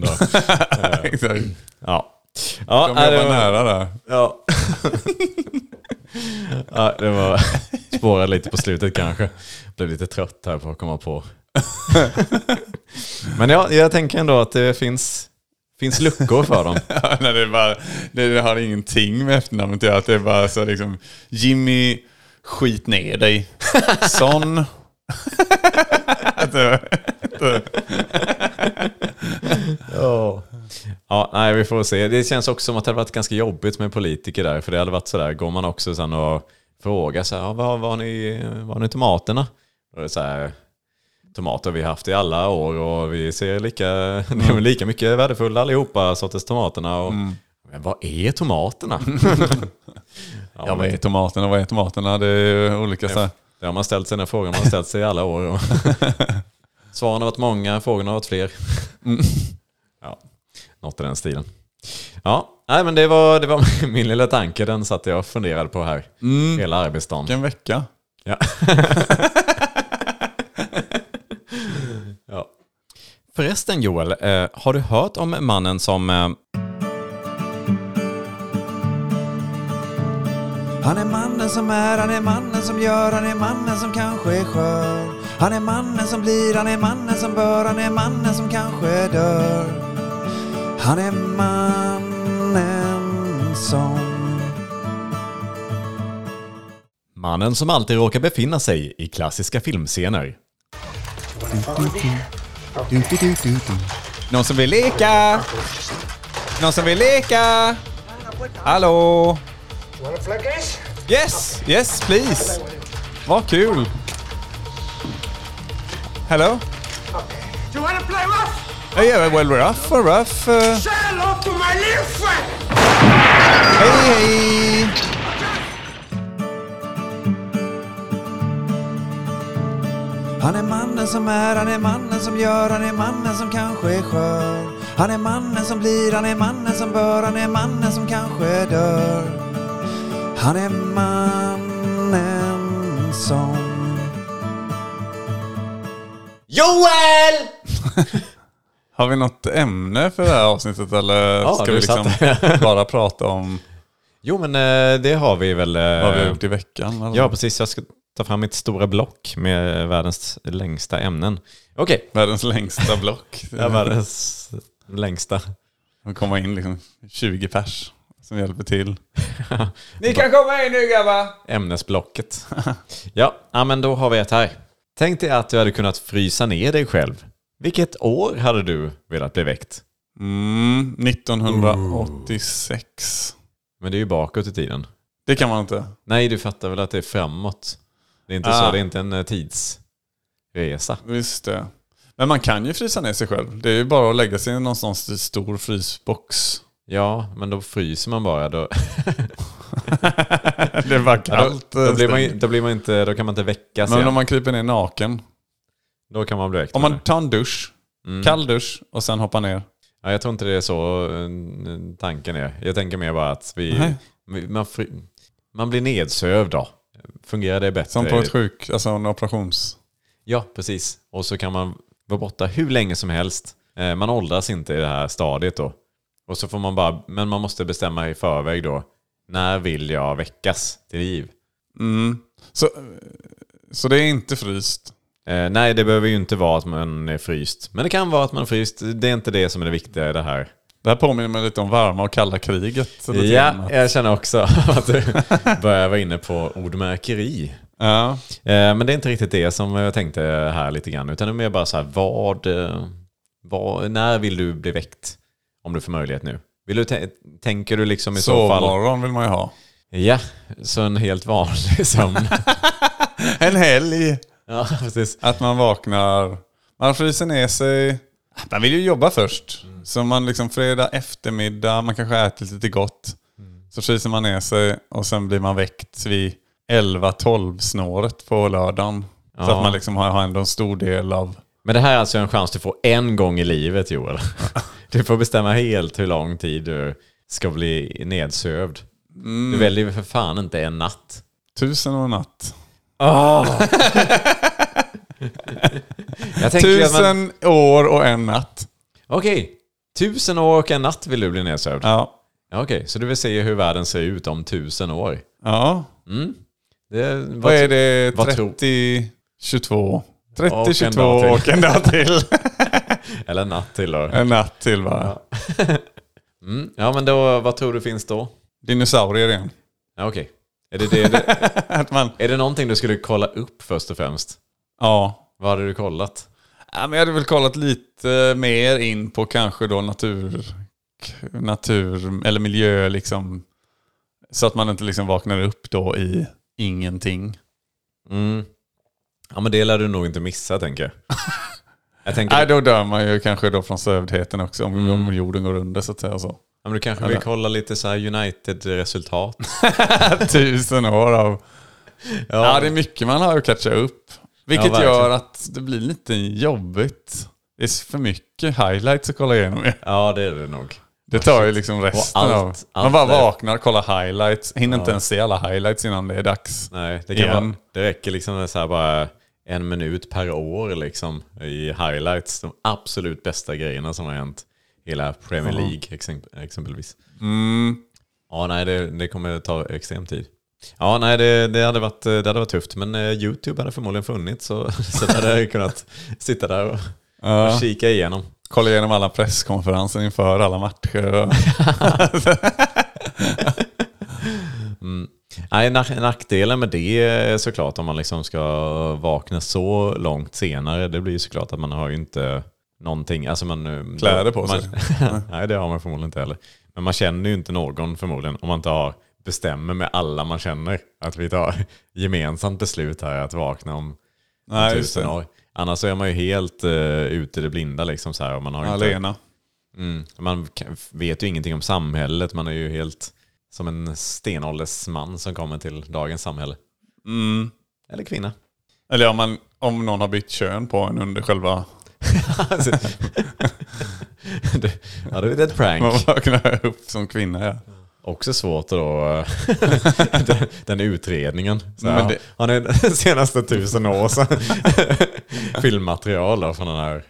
[SPEAKER 3] [LAUGHS]
[SPEAKER 4] då.
[SPEAKER 3] Exakt.
[SPEAKER 4] Ja, ja
[SPEAKER 3] De
[SPEAKER 4] nej, det
[SPEAKER 3] jobbar
[SPEAKER 4] var-
[SPEAKER 3] nära där.
[SPEAKER 4] Ja. [LAUGHS] ja, det var spårade lite på slutet kanske. Blev lite trött här på att komma
[SPEAKER 3] [LAUGHS]
[SPEAKER 4] på. Men ja, jag tänker ändå att det finns, finns luckor för dem.
[SPEAKER 3] Ja, nej, det, är bara, [LAUGHS] det, det har ingenting med efternamnet att göra. Det är bara så liksom, Jimmy, skit ner dig.
[SPEAKER 4] [LAUGHS]
[SPEAKER 3] Son.
[SPEAKER 4] Ja, nej, vi får se. Det känns också som att det hade varit ganska jobbigt med politiker där. För det hade varit sådär, går man också sen och frågar så här, "Ja, var, var, har ni, var har ni tomaterna? Och det är så här, tomater har vi haft i alla år och vi ser lika, [LAUGHS] de är lika mycket värdefulla allihopa, sorters tomaterna. Och, Men vad är [LAUGHS] tomaterna? ja,
[SPEAKER 3] Ja, vad
[SPEAKER 4] men
[SPEAKER 3] är tomaterna? Vad är tomaterna? Det är olika så här.
[SPEAKER 4] Det har man ställt sig, den frågan man har ställt sig i alla år. Och Svaren har varit många, frågorna har varit fler. Ja, något i den stilen. Ja, nej, men det var, det var [LAUGHS] min lilla tanke, den satt jag och funderade på här hela arbetsdagen.
[SPEAKER 3] Vilken vecka.
[SPEAKER 4] Ja. ja. Förresten Joel, eh, har du hört om mannen som... Eh,
[SPEAKER 5] Han är mannen som är, han är mannen som gör, han är mannen som kanske är skör. Han är mannen som blir, han är mannen som bör, han är mannen som kanske dör. Han är mannen som...
[SPEAKER 4] mannen som alltid råkar befinna sig i klassiska filmscener.
[SPEAKER 3] Någon som vill leka? Någon som vill leka? Hallå? Yes, yes please. Vad kul. Hello?
[SPEAKER 6] You wanna play rough?
[SPEAKER 3] Oh yeah, well rough, rough. Uh,
[SPEAKER 6] Say hello to my little friend!
[SPEAKER 3] hej hej!
[SPEAKER 5] Han är mannen som är, han är mannen som gör, han är mannen som kanske är skör. Han är mannen som blir, han är mannen som bör, han är mannen som kanske dör. Han är mannen som...
[SPEAKER 4] Joel!
[SPEAKER 3] Har vi något ämne för det här avsnittet eller
[SPEAKER 4] Ja,
[SPEAKER 3] ska
[SPEAKER 4] du
[SPEAKER 3] vi liksom bara prata om
[SPEAKER 4] Jo men eh, det har vi väl... eh,
[SPEAKER 3] vad vi har gjort i veckan? Eller?
[SPEAKER 4] Ja precis, jag ska ta fram mitt stora block med världens längsta ämnen. Okej.
[SPEAKER 3] Världens längsta [LAUGHS] block.
[SPEAKER 4] Ja, världens längsta.
[SPEAKER 3] Det kommer in liksom 20 pers som hjälper till.
[SPEAKER 6] Ni kan komma in nu grabbar!
[SPEAKER 4] Ämnesblocket. Ja, ja, men då har vi ett här. Tänk dig att du hade kunnat frysa ner dig själv. Vilket år hade du velat bli väckt?
[SPEAKER 3] Mm, 1986.
[SPEAKER 4] Men det är ju bakåt i tiden.
[SPEAKER 3] Det kan man inte.
[SPEAKER 4] Nej, du fattar väl att det är framåt. Det är inte
[SPEAKER 3] Ah.
[SPEAKER 4] så, det är inte en eh, tidsresa.
[SPEAKER 3] Just det. Men man kan ju frysa ner sig själv. Det är ju bara att lägga sig i någonstans i stor frysbox.
[SPEAKER 4] Ja, men då fryser man bara. Då,
[SPEAKER 3] [LAUGHS] det är bara
[SPEAKER 4] ja, då,
[SPEAKER 3] kallt.
[SPEAKER 4] då, blir man, ju- då, blir man inte, då kan man inte väckas
[SPEAKER 3] Men
[SPEAKER 4] igen.
[SPEAKER 3] om man kryper ner naken.
[SPEAKER 4] Då kan man bli väckt.
[SPEAKER 3] Om
[SPEAKER 4] menar
[SPEAKER 3] man tar en dusch, kall dusch och sen hoppar ner.
[SPEAKER 4] Ja, jag tror inte det är så eh, tanken är. Jag tänker mer bara att vi,
[SPEAKER 3] Nej.
[SPEAKER 4] vi man, fri- man blir nedsövd då. Fungerar det bättre?
[SPEAKER 3] Som på ett sjuk, alltså en operations...
[SPEAKER 4] Ja, precis. Och så kan man vara borta hur länge som helst. Eh, Man åldras inte i det här stadiet då. Och så får man bara, men man måste bestämma i förväg då. När vill jag väckas till liv?
[SPEAKER 3] Mm. Så, så det är inte fryst.
[SPEAKER 4] Eh, nej, det behöver ju inte vara att man är fryst. Men det kan vara att man är fryst. Det är inte det som är det viktiga i det här.
[SPEAKER 3] Det här påminner mig lite om varma och kalla kriget. lite
[SPEAKER 4] Ja,
[SPEAKER 3] grann.
[SPEAKER 4] jag känner också [LAUGHS] att du börjar vara inne på ordmärkeri.
[SPEAKER 3] ja.
[SPEAKER 4] Eh, Men det är inte riktigt det som jag tänkte här lite grann. Utan det är mer bara så här, vad, eh, vad, när vill du bli väckt? Om du får möjlighet nu. Vill du tä- tänker du liksom i så fall...
[SPEAKER 3] Sovmorgon vill man ju ha.
[SPEAKER 4] Ja, så en helt vanlig sömn.
[SPEAKER 3] En helg.
[SPEAKER 4] [LAUGHS] ja, precis.
[SPEAKER 3] Att man vaknar, man fryser ner sig. Man vill ju jobba först. Så man liksom fredag eftermiddag, man kanske äter lite gott. Så fryser man ner sig och sen blir man väckt vid 11-12 snåret på lördagen. Så
[SPEAKER 4] Ja.
[SPEAKER 3] att man liksom har, har ändå en stor del av...
[SPEAKER 4] Men det här är alltså en chans du får en gång i
[SPEAKER 3] [LAUGHS]
[SPEAKER 4] livet Joel. Du får bestämma helt hur lång tid du ska bli nedsövd.
[SPEAKER 3] Mm.
[SPEAKER 4] Du väljer ju för fan inte en natt.
[SPEAKER 3] Tusen och en natt. Ah.
[SPEAKER 4] [LAUGHS] Jag tänker ju att man-
[SPEAKER 3] Tusen år och en natt.
[SPEAKER 4] Okej, tusen år och en natt vill du bli nedsövd.
[SPEAKER 3] Ja.
[SPEAKER 4] Ja, Okej, så du vill se hur världen ser ut om tusen år. Mm.
[SPEAKER 3] ja.
[SPEAKER 4] Det,
[SPEAKER 3] Vad är det?
[SPEAKER 4] vad tror-
[SPEAKER 3] 30, 22. 30,
[SPEAKER 4] Och en
[SPEAKER 3] 22
[SPEAKER 4] dag till.
[SPEAKER 3] och en dag till.
[SPEAKER 4] [LAUGHS] Eller en natt till då. Mm.
[SPEAKER 3] en natt till va?
[SPEAKER 4] Ja, men då, vad tror du finns då?
[SPEAKER 3] Dinosaurier igen.
[SPEAKER 4] Ja, Okej. Är, det det, det,
[SPEAKER 3] [LAUGHS] Att man,
[SPEAKER 4] är det någonting du skulle kolla upp först och främst?
[SPEAKER 3] ja.
[SPEAKER 4] Vad hade du kollat?
[SPEAKER 3] Ja, men jag hade väl kollat lite mer in på kanske då natur, k- natur eller miljö liksom. Så att man inte liksom vaknar upp då i ingenting.
[SPEAKER 4] Mm. Ja, men det lär du nog inte missa, tänker jag. Jag
[SPEAKER 3] [LAUGHS]
[SPEAKER 4] tänker,
[SPEAKER 3] Nej, då dör man ju kanske då från sövdheten också om, om jorden går under så att säga. Så. [LAUGHS]
[SPEAKER 4] ja, men du kanske vill kolla lite så här United-resultat.
[SPEAKER 3] Tusen år av... Ja. det är mycket man har att catcha upp. Vilket
[SPEAKER 4] verkligen.
[SPEAKER 3] gör att det blir lite jobbigt. Det är för mycket highlights att kolla igenom. ju.
[SPEAKER 4] Ja, det är det nog.
[SPEAKER 3] Det tar ju liksom resten
[SPEAKER 4] allt-
[SPEAKER 3] av... Man
[SPEAKER 4] allt
[SPEAKER 3] bara
[SPEAKER 4] där.
[SPEAKER 3] vaknar, kollar highlights, hinner inte ens se alla highlights innan det är dags.
[SPEAKER 4] Nej, det, kan
[SPEAKER 3] Igen.
[SPEAKER 4] vara, det räcker liksom med så här bara en minut per år liksom, i highlights. De absolut bästa grejerna som har hänt. Hela Premier League exemp- exempelvis. Ja, nej, det, det kommer ta extrem tid. Ja, nej, det, det, hade varit, det hade varit tufft. Men eh, YouTube hade förmodligen funnits så, [LAUGHS] så jag hade jag kunnat sitta där och, och kika igenom.
[SPEAKER 3] Kolla igenom alla presskonferenser inför alla
[SPEAKER 4] [LAUGHS]
[SPEAKER 3] matcher.
[SPEAKER 4] Nej, nack- nackdelen med det är såklart om man liksom ska vakna så långt senare, det blir ju såklart att man har ju inte någonting. Alltså man, eh,
[SPEAKER 3] Kläder på sig.
[SPEAKER 4] Man, [LAUGHS] nej, det har man förmodligen inte heller. Men man känner ju inte någon förmodligen om man inte har, bestämmer med alla man känner att vi tar [LAUGHS] gemensamt beslut här att vakna om
[SPEAKER 3] Nej, just
[SPEAKER 4] tusen
[SPEAKER 3] det.
[SPEAKER 4] år. Annars så är man ju helt uh, ute i det blinda liksom så här. Och man har ju inte,
[SPEAKER 3] Alena.
[SPEAKER 4] Mm. Man kan- vet ju ingenting om samhället. Man är ju helt som en stenåldersman som kommer till dagens samhälle.
[SPEAKER 3] Mm.
[SPEAKER 4] Eller kvinna. [LAUGHS]
[SPEAKER 3] Eller om, man, om någon har bytt kön på en under själva...
[SPEAKER 4] Alltså, det- ja, då är det ett
[SPEAKER 3] Man [LAUGHS]
[SPEAKER 4] prank.
[SPEAKER 3] vaknar upp som kvinna. Ja.
[SPEAKER 4] Också svårt att då... [LAUGHS] den, den utredningen. Så här,
[SPEAKER 3] Men det-
[SPEAKER 4] Har ni [LAUGHS] de senaste tusen år så [LAUGHS] filmmaterial då från den här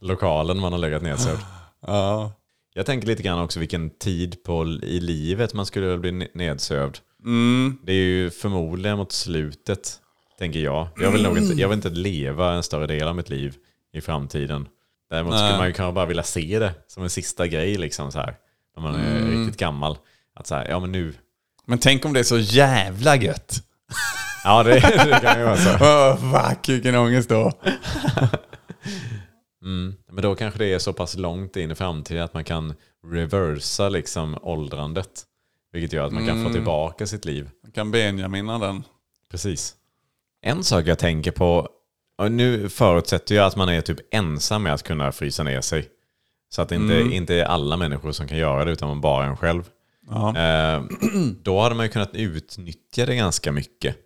[SPEAKER 4] lokalen man har legat nedsövd.
[SPEAKER 3] Ja.
[SPEAKER 4] Jag tänker lite grann också vilken tid på, i livet man skulle bli ne- nedsövd.
[SPEAKER 3] Mm.
[SPEAKER 4] Det är ju förmodligen mot slutet, tänker jag. Jag vill, nog inte, jag vill inte leva en större del av mitt liv i framtiden. Däremot skulle
[SPEAKER 3] Nej.
[SPEAKER 4] man ju kanske bara vilja se det som en sista grej, liksom så här. När man är riktigt gammal. Att så här, ja men nu.
[SPEAKER 3] Men tänk om det är så jävla gött.
[SPEAKER 4] Ja, det, det [LAUGHS] kan ju vara så.
[SPEAKER 3] Oh, fuck, vilken ångest då.
[SPEAKER 4] Men då kanske det är så pass långt in i framtiden att man kan reversa liksom åldrandet. Vilket gör att man kan få tillbaka sitt liv.
[SPEAKER 3] Man kan Benjamina den.
[SPEAKER 4] Precis. En sak jag tänker på, och nu förutsätter jag att man är typ ensam med att kunna frysa ner sig. Så att det inte, inte är alla människor som kan göra det, utan bara en själv.
[SPEAKER 3] Ja.
[SPEAKER 4] Eh, då hade man ju kunnat utnyttja det ganska mycket.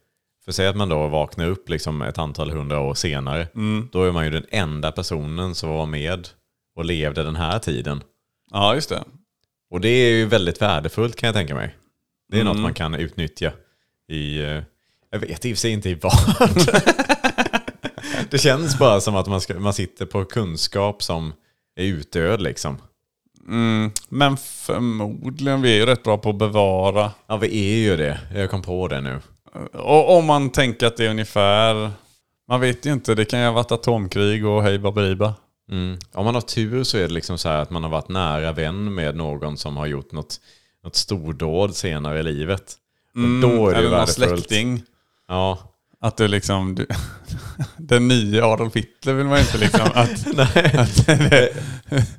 [SPEAKER 4] För säg att man då vaknar upp liksom ett antal hundra år senare. Då är man ju den enda personen som var med och levde den här tiden.
[SPEAKER 3] ja, just det.
[SPEAKER 4] Och det är ju väldigt värdefullt kan jag tänka mig. Det är
[SPEAKER 3] Mm.
[SPEAKER 4] något man kan utnyttja i, eh, jag vet i och för sig inte i vad. [LAUGHS] det känns bara som att man, ska, man sitter på kunskap som är utdöd liksom.
[SPEAKER 3] Mm. Men förmodligen, vi är ju rätt bra på att bevara
[SPEAKER 4] Ja, vi är ju det. Jag kom på det nu.
[SPEAKER 3] Och om man tänker att det är ungefär... Man vet ju inte, det kan ju ha varit atomkrig och hej baberiba.
[SPEAKER 4] Mm. Om man har tur så är det liksom så här att man har varit nära vän med någon som har gjort något, något stordåd senare i livet. och då är det
[SPEAKER 3] Mm.
[SPEAKER 4] ju
[SPEAKER 3] Eller någon
[SPEAKER 4] värdefullt.
[SPEAKER 3] släkting.
[SPEAKER 4] Ja,
[SPEAKER 3] Att du liksom... Du, [LAUGHS] den nya Adolf Hitler vill man ju inte liksom
[SPEAKER 4] [LAUGHS]
[SPEAKER 3] [LAUGHS] att...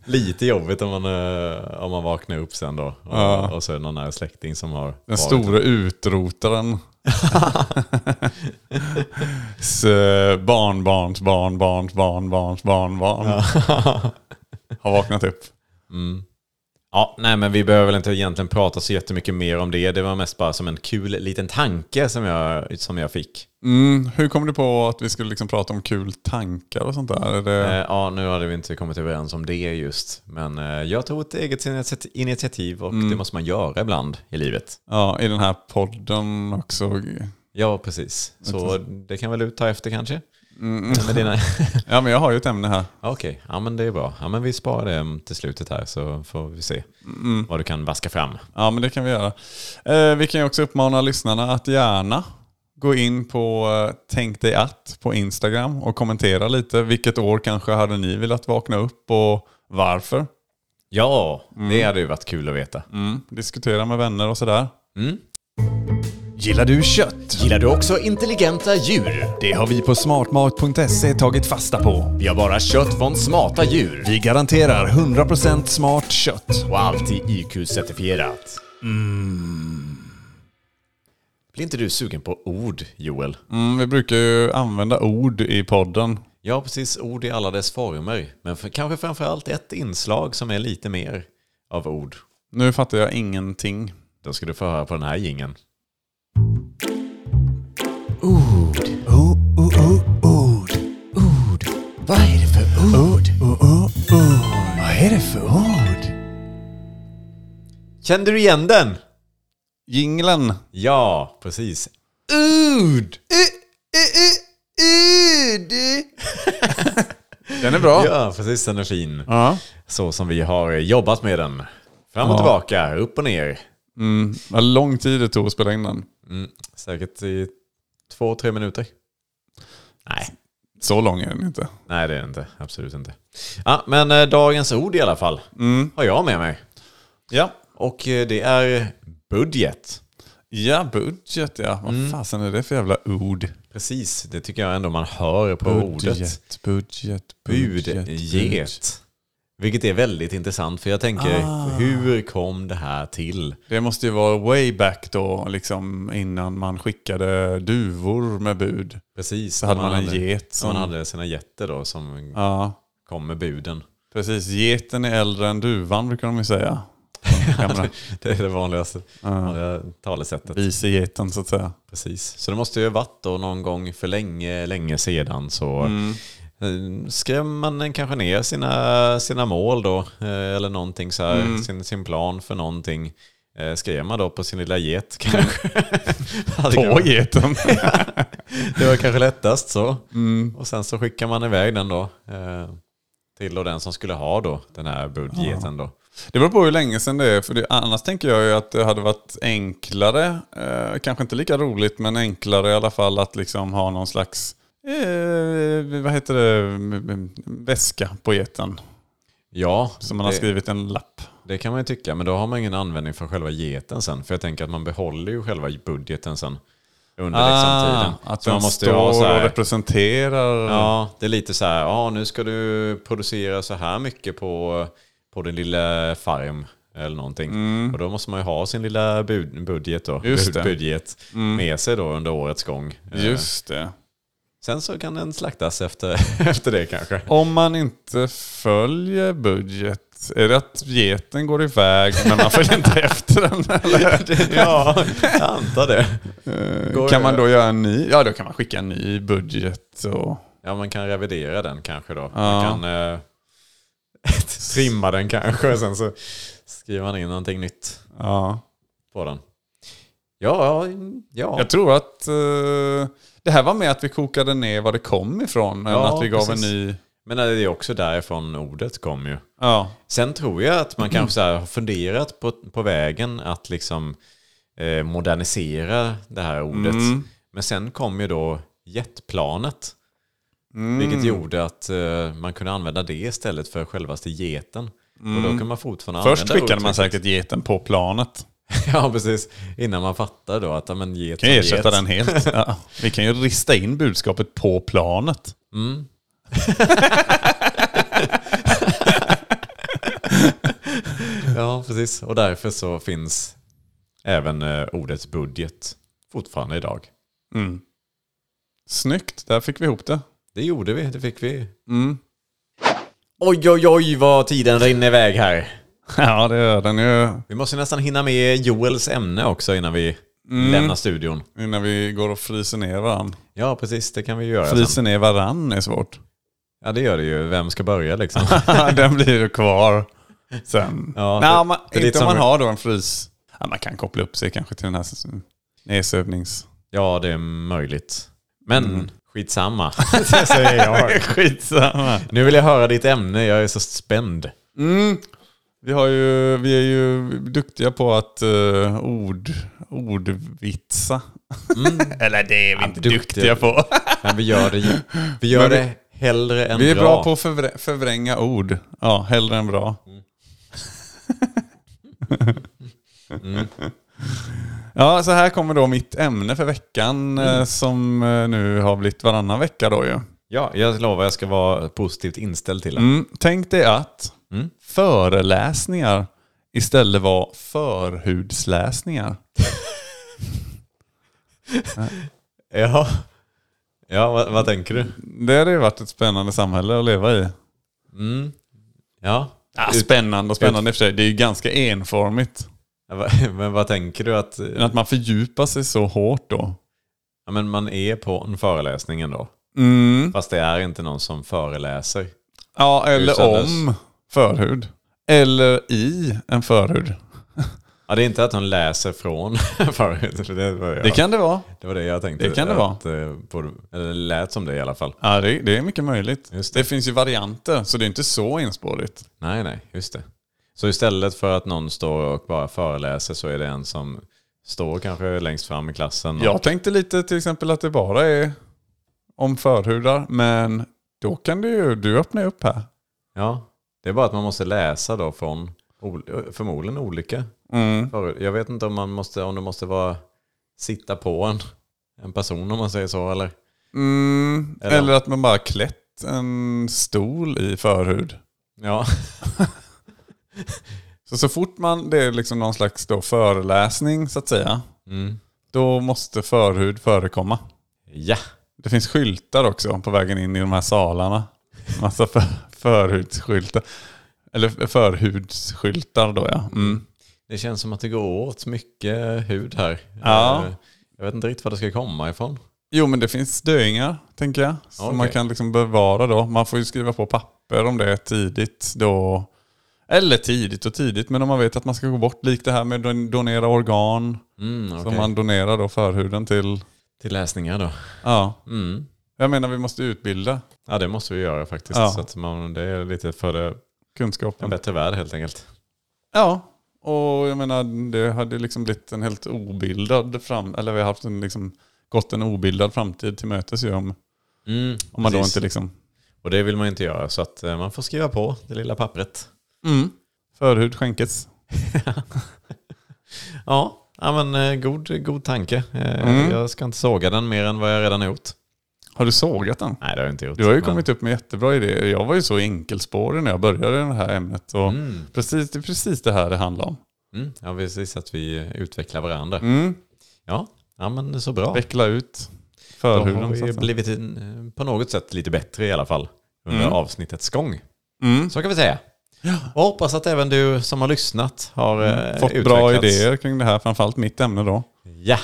[SPEAKER 4] Lite jobbigt om man, eh, om man vaknar upp sen då. Och,
[SPEAKER 3] Ja.
[SPEAKER 4] och så är det någon nära släkting som har
[SPEAKER 3] Den
[SPEAKER 4] varit-
[SPEAKER 3] store utrotaren.
[SPEAKER 4] [LAUGHS]
[SPEAKER 3] [LAUGHS] S, barnbarns barnbarns barnbarns barnbarn. [LAUGHS] har vaknat upp.
[SPEAKER 4] Mm. Ja, nej men vi behöver väl inte egentligen prata så jättemycket mer om det. Det var mest bara som en kul liten tanke som jag, som jag fick.
[SPEAKER 3] Mm, hur kom du på att vi skulle liksom prata om kul tankar och sånt där? Är det...
[SPEAKER 4] Eh, ja, nu hade vi inte kommit överens om det just. Men eh, jag tog ett eget initiat- initiativ och det måste man göra ibland i livet.
[SPEAKER 3] Mm. Ja, i den här podden också.
[SPEAKER 4] Ja, precis. Så det kan väl du ta efter kanske?
[SPEAKER 3] Mm.
[SPEAKER 4] Med dina...
[SPEAKER 3] [LAUGHS] Ja, men jag har ju ett ämne här.
[SPEAKER 4] Okej, ja men det är bra. Ja men vi sparar det mm, till slutet här så får vi se
[SPEAKER 3] Mm.
[SPEAKER 4] vad du kan vaska fram.
[SPEAKER 3] Ja, men det kan vi göra. Eh, vi kan ju också uppmana lyssnarna att gärna gå in på eh, Tänk dig att på Instagram och kommentera lite. Vilket år kanske hade ni velat vakna upp och varför?
[SPEAKER 4] Ja, det hade ju varit kul att veta.
[SPEAKER 3] Mm, diskutera med vänner och sådär.
[SPEAKER 2] Gillar du kött?
[SPEAKER 7] Gillar du också intelligenta djur?
[SPEAKER 2] Det har vi på smartmat.se tagit fasta på.
[SPEAKER 7] Vi har bara kött från smarta djur
[SPEAKER 2] Vi garanterar 100% smart kött.
[SPEAKER 7] och alltid IQ-certifierat.
[SPEAKER 4] Mm.
[SPEAKER 7] Blir inte du sugen på ord, Joel?
[SPEAKER 3] Mm, vi brukar ju använda ord i podden.
[SPEAKER 4] Ja, precis. Ord i alla dess former. Men för, kanske framförallt ett inslag som är lite mer av ord.
[SPEAKER 3] Nu fattar jag ingenting.
[SPEAKER 4] Då ska du få höra på den här gingen. Ord. Oh, oh, oh, ord. Ord. Vad är det för ord? Vad är det för ord? Kände du igen den?
[SPEAKER 3] Jinglen.
[SPEAKER 4] Ja, precis. Ud!
[SPEAKER 3] [LAUGHS] Den är bra.
[SPEAKER 4] Ja, precis. Den är fin.
[SPEAKER 3] Ja.
[SPEAKER 4] Så som vi har jobbat med den. Fram och tillbaka, upp och ner.
[SPEAKER 3] Mm, vad lång tid det tog att spela in den.
[SPEAKER 4] Mm, Säkert i två, tre minuter. Nej,
[SPEAKER 3] Så lång är den inte.
[SPEAKER 4] nej det är det inte. Absolut inte. Ja, men eh, dagens ord i alla fall har jag med mig.
[SPEAKER 3] Mm. Ja.
[SPEAKER 4] Och eh, det är budget.
[SPEAKER 3] Ja, budget ja. Vad fasen är det för jävla ord?
[SPEAKER 4] Precis, det tycker jag ändå man hör på ordet.
[SPEAKER 3] Budget, budget, budget. budget. Ah.
[SPEAKER 4] Budget. Vilket är väldigt intressant för jag tänker, hur kom det här till?
[SPEAKER 3] Det måste ju vara way back då, liksom innan man skickade duvor med bud.
[SPEAKER 4] Precis,
[SPEAKER 3] Så hade
[SPEAKER 4] när
[SPEAKER 3] man en get
[SPEAKER 4] som...
[SPEAKER 3] som-
[SPEAKER 4] Man hade sina getter då som
[SPEAKER 3] Ja,
[SPEAKER 4] kom med buden.
[SPEAKER 3] precis. Geten är äldre än duvan brukar de ju säga. Den Gamla
[SPEAKER 4] [LAUGHS]
[SPEAKER 3] Ah.
[SPEAKER 4] Det är det vanligaste vanliga talesättet.
[SPEAKER 3] vise geten så att säga.
[SPEAKER 4] Precis. Så det måste ju ha varit då någon gång för länge, länge sedan så
[SPEAKER 3] Mm.
[SPEAKER 4] eh, skrev man kanske ner sina, sina mål då, eh, eller någonting så här,
[SPEAKER 3] Mm.
[SPEAKER 4] sin, sin plan för någonting. Eh, Skrev man då på sin
[SPEAKER 3] [LAUGHS]
[SPEAKER 4] lilla get kanske? Hade
[SPEAKER 3] På
[SPEAKER 4] kunnat-
[SPEAKER 3] geten.
[SPEAKER 4] [LAUGHS]
[SPEAKER 3] Mm.
[SPEAKER 4] det var kanske lättast så. Och sen så skickar man iväg den då. Eh, till då den som skulle ha då den här budgeten då.
[SPEAKER 3] Det beror på hur länge sedan det är, för det, annars tänker jag ju att det hade varit enklare, eh, kanske inte lika roligt, men enklare i alla fall att liksom ha någon slags, eh, vad heter det, m- m- väska på geten.
[SPEAKER 4] Ja,
[SPEAKER 3] Som man har
[SPEAKER 4] det-
[SPEAKER 3] skrivit en lapp.
[SPEAKER 4] Det kan man ju tycka, men då har man ingen användning för själva geten sen. För jag tänker att man behåller ju själva budgeten sen under liksom tiden.
[SPEAKER 3] Ah, att
[SPEAKER 4] så
[SPEAKER 3] den
[SPEAKER 4] man måste ju
[SPEAKER 3] står
[SPEAKER 4] ha så
[SPEAKER 3] och
[SPEAKER 4] här,
[SPEAKER 3] representerar.
[SPEAKER 4] Ja, det är lite så här, ja nu ska du producera så här mycket på, på din lilla farm eller någonting. Och då måste man ju ha sin lilla bud, budget då,
[SPEAKER 3] Mm. Just det. Mm.
[SPEAKER 4] budget med sig då under årets gång. Eh,
[SPEAKER 3] Just det.
[SPEAKER 4] Sen så kan den slaktas efter, [LAUGHS] efter det kanske.
[SPEAKER 3] Om man inte följer budget, är det att geten går iväg men man följer inte efter den? Eller?
[SPEAKER 4] [LAUGHS] ja, jag antar det. Går-
[SPEAKER 3] Kan man då göra en ny? Ja, då kan man skicka en ny budget. Och...
[SPEAKER 4] Ja, man kan revidera den kanske då. Man kan
[SPEAKER 3] [LAUGHS]
[SPEAKER 4] eh, trimma den kanske och sen så skriver man in någonting nytt
[SPEAKER 3] Ja.
[SPEAKER 4] på den. Ja, ja.
[SPEAKER 3] Jag tror att eh, det här var med att vi kokade ner var det kom ifrån. än
[SPEAKER 4] Ja,
[SPEAKER 3] att vi gav
[SPEAKER 4] precis.
[SPEAKER 3] en ny...
[SPEAKER 4] Men det är också därifrån ordet kom ju.
[SPEAKER 3] Ja.
[SPEAKER 4] Sen tror jag att man kanske så här har funderat på, på vägen att liksom eh, modernisera det här ordet.
[SPEAKER 3] Mm.
[SPEAKER 4] Men sen kom ju då jetplanet.
[SPEAKER 3] Mm.
[SPEAKER 4] Vilket gjorde att eh, man kunde använda det istället för självaste geten. Och då kan man fortfarande
[SPEAKER 3] Mm. Först
[SPEAKER 4] använda
[SPEAKER 3] skickade
[SPEAKER 4] ordet
[SPEAKER 3] man säkert geten på planet.
[SPEAKER 4] [LAUGHS] Ja, precis. Innan man fattar då att ja, men get
[SPEAKER 3] Kan
[SPEAKER 4] som
[SPEAKER 3] jag ersätta
[SPEAKER 4] get.
[SPEAKER 3] den
[SPEAKER 4] [LAUGHS]
[SPEAKER 3] helt. Ja. Vi kan ju rista in budskapet på planet.
[SPEAKER 4] Ja, precis. Och därför så finns även eh, ordets budget fortfarande idag.
[SPEAKER 3] Snyggt, där fick vi ihop det. Mm.
[SPEAKER 4] Det gjorde vi, det fick vi. Oj, oj, oj vad tiden rinner iväg här.
[SPEAKER 3] Ja, det gör den ju.
[SPEAKER 4] Vi måste nästan hinna med Joels ämne också innan vi
[SPEAKER 3] Mm.
[SPEAKER 4] lämnar studion.
[SPEAKER 3] Innan vi går och fryser ner varann.
[SPEAKER 4] Ja, precis. Det kan vi göra sen.
[SPEAKER 3] Fryser ner varann är [LAUGHS] svårt.
[SPEAKER 4] Ja, det gör det ju. Vem ska
[SPEAKER 3] [LAUGHS]
[SPEAKER 4] börja liksom?
[SPEAKER 3] den blir ju kvar sen.
[SPEAKER 4] Ja,
[SPEAKER 3] Nej,
[SPEAKER 4] för-
[SPEAKER 3] man,
[SPEAKER 4] för ditt
[SPEAKER 3] inte om man
[SPEAKER 4] som-
[SPEAKER 3] har då en frys. Ja, man kan koppla upp sig kanske till den här s- nedsövnings...
[SPEAKER 4] Ja, det är möjligt. Men
[SPEAKER 3] Mm. [LAUGHS]
[SPEAKER 4] skitsamma. [LAUGHS]
[SPEAKER 3] Skitsamma.
[SPEAKER 4] Nu vill jag höra ditt ämne. Jag är så spänd.
[SPEAKER 3] Vi, har ju, vi är ju duktiga på att eh, ord, ordvitsa. Eller det är vi inte
[SPEAKER 4] duktiga.
[SPEAKER 3] duktiga, på.
[SPEAKER 4] [LAUGHS] Men vi gör det, ju- vi gör
[SPEAKER 3] Men vi-
[SPEAKER 4] det hellre än
[SPEAKER 3] Vi är
[SPEAKER 4] bra.
[SPEAKER 3] bra på att förvrä- förvränga ord. Ja, hellre än bra. [LAUGHS] Ja, så här kommer då mitt ämne för veckan eh, som eh, nu har blivit varannan vecka då ju.
[SPEAKER 4] Ja, jag lovar jag ska vara positivt inställd till det.
[SPEAKER 3] Mm, tänk dig att föreläsningar istället var förhudsläsningar.
[SPEAKER 4] Ja, ja vad, vad tänker du?
[SPEAKER 3] Det hade ju varit ett spännande samhälle att leva i.
[SPEAKER 4] Ja.
[SPEAKER 3] Ja, spännande och spännande i och för sig. Det är ju ganska enformigt.
[SPEAKER 4] Ja, va- Men vad [LAUGHS] tänker du att...
[SPEAKER 3] Men att man fördjupar sig så hårt då.
[SPEAKER 4] Ja, men man är på en föreläsning ändå.
[SPEAKER 3] Mm.
[SPEAKER 4] Fast det är inte någon som föreläser.
[SPEAKER 3] Ja, eller
[SPEAKER 4] Utsändes.
[SPEAKER 3] om förhud. Eller i en förhud.
[SPEAKER 4] Ja, det är inte att hon läser från [LAUGHS] förut. Det var, jag,
[SPEAKER 3] Det kan det vara.
[SPEAKER 4] det var det jag tänkte.
[SPEAKER 3] det kan det vara.
[SPEAKER 4] att, eh, På, eller lät som det i alla fall.
[SPEAKER 3] Ja, det, det är mycket möjligt.
[SPEAKER 4] Just det.
[SPEAKER 3] det. finns ju varianter, så det är inte så enspårigt.
[SPEAKER 4] Nej, nej, just det. Så istället för att någon står och bara föreläser så är det en som står kanske längst fram i klassen. och-
[SPEAKER 3] Jag tänkte lite till exempel att det bara är om förhudar, men då kan du ju, du öppnar ju upp här.
[SPEAKER 4] ja. Det är bara att man måste läsa då från ol- förmodligen olika.
[SPEAKER 3] Mm.
[SPEAKER 4] förut. Jag vet inte om man måste, om du måste vara, sitta på en, en person om man säger så eller?
[SPEAKER 3] Mm,
[SPEAKER 4] Eller-
[SPEAKER 3] eller, att man bara klätt en stol i förhud.
[SPEAKER 4] Ja,
[SPEAKER 3] Så, så fort man, det är liksom någon slags då föreläsning så att säga, då måste förhud förekomma.
[SPEAKER 4] Mm. ja.
[SPEAKER 3] Det finns skyltar också på vägen in i de här salarna. Massa för, förhudsskyltar. Eller förhudsskyltar då ja. Mm.
[SPEAKER 4] det känns som att det går åt mycket hud här.
[SPEAKER 3] Ja.
[SPEAKER 4] Eh, Jag vet inte riktigt var det ska komma ifrån.
[SPEAKER 3] Jo men det finns döingar tänker jag. Som
[SPEAKER 4] Okej.
[SPEAKER 3] man kan liksom bevara då. Man får ju skriva på papper om det är tidigt då. Eller tidigt och tidigt men om man vet att man ska gå bort. Likt det här med don- donera organ.
[SPEAKER 4] Mm,
[SPEAKER 3] Som
[SPEAKER 4] okej.
[SPEAKER 3] man donerar då förhuden till.
[SPEAKER 4] Till läsningar då.
[SPEAKER 3] Ja.
[SPEAKER 4] Mm.
[SPEAKER 3] Jag menar vi måste utbilda
[SPEAKER 4] Ja, det måste vi göra faktiskt.
[SPEAKER 3] Ja.
[SPEAKER 4] Så att man, det är lite för det, en
[SPEAKER 3] kunskapen.
[SPEAKER 4] bättre värld helt enkelt.
[SPEAKER 3] Ja, och jag menar det hade liksom blivit en helt obildad fram... Eller vi har haft en liksom gått en obildad framtid till mötes ju om, om man då
[SPEAKER 4] Mm, precis.
[SPEAKER 3] inte liksom...
[SPEAKER 4] Och det vill man ju inte göra, så att eh, man får skriva på det lilla pappret. [LAUGHS]
[SPEAKER 3] mm, Förhud skänkes.
[SPEAKER 4] Ja, ja men eh, god, god tanke. Eh,
[SPEAKER 3] Mm.
[SPEAKER 4] Jag ska inte såga den mer än vad jag redan har gjort.
[SPEAKER 3] Har du sågat den?
[SPEAKER 4] Nej, det har jag inte gjort.
[SPEAKER 3] Du har ju
[SPEAKER 4] men-
[SPEAKER 3] kommit upp med jättebra idéer. Jag var ju så enkelspårig när jag började i det här ämnet. Och precis, det är precis det här det handlar om.
[SPEAKER 4] Mm, ja, precis. Att vi eh, utvecklar varandra.
[SPEAKER 3] Mm.
[SPEAKER 4] Ja, ja, men så bra.
[SPEAKER 3] Veckla ut
[SPEAKER 4] Då
[SPEAKER 3] förhuden.
[SPEAKER 4] har
[SPEAKER 3] så
[SPEAKER 4] vi
[SPEAKER 3] att säga.
[SPEAKER 4] blivit en, på något sätt lite bättre i alla fall under
[SPEAKER 3] Mm.
[SPEAKER 4] avsnittets gång. Så kan vi säga. Och hoppas att även du som har lyssnat har eh,
[SPEAKER 3] Mm. Fått bra
[SPEAKER 4] utvecklats.
[SPEAKER 3] idéer kring det här, framförallt mitt ämne då.
[SPEAKER 4] Ja,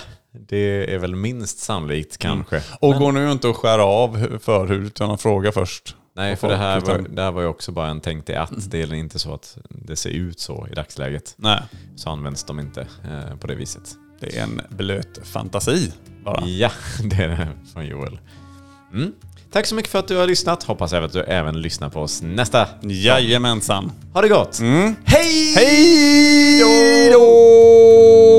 [SPEAKER 4] det är väl minst sannolikt kanske.
[SPEAKER 3] Och gå nu inte och skära av hu- förhud utan att fråga först.
[SPEAKER 4] Nej,
[SPEAKER 3] Och
[SPEAKER 4] för det
[SPEAKER 3] folk, liksom- Mm.
[SPEAKER 4] här, var,
[SPEAKER 3] utan-
[SPEAKER 4] det här var ju också bara en tänkt i att. Det är inte så att det ser ut så i dagsläget.
[SPEAKER 3] Nej,
[SPEAKER 4] Så används de inte eh, på det viset.
[SPEAKER 3] det är en blöt fantasi bara.
[SPEAKER 4] Ja, [LAUGHS] det är det från Joel. Mm. Tack så mycket för att du har lyssnat. Hoppas även att du även lyssnar på oss nästa.
[SPEAKER 3] Jajamensan.
[SPEAKER 4] Ha det gott! Hej!
[SPEAKER 3] Hej då!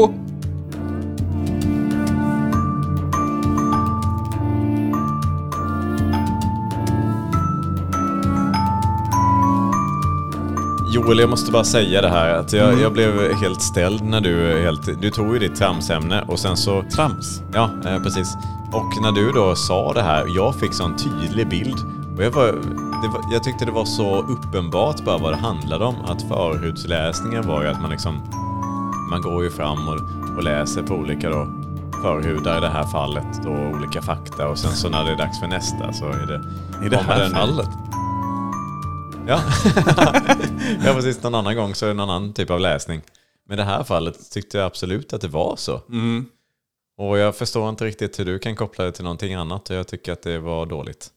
[SPEAKER 4] Joel, jag måste bara säga det här. Att
[SPEAKER 3] Mm.
[SPEAKER 4] jag, jag blev helt ställd när du helt... Du tog ju ditt tramsämne och sen så...
[SPEAKER 3] Trams.
[SPEAKER 4] Ja, eh, precis. Och när du då sa det här, jag fick så en tydlig bild. Och jag, var, det var, jag tyckte det var så uppenbart bara vad det handlade om. Att förhudsläsningen var ju att man liksom... Man går ju fram och, och läser på olika då förhudar i det här fallet då olika fakta och sen så när det är dags för nästa så är det...
[SPEAKER 3] I det
[SPEAKER 4] kommer
[SPEAKER 3] här
[SPEAKER 4] den-
[SPEAKER 3] fallet.
[SPEAKER 4] Ja. ja, precis. Någon annan gång så är det någon annan typ av läsning. Men i det här fallet tyckte jag absolut att det var så. Och jag förstår inte riktigt hur du kan koppla det till någonting annat och jag tycker att det var dåligt.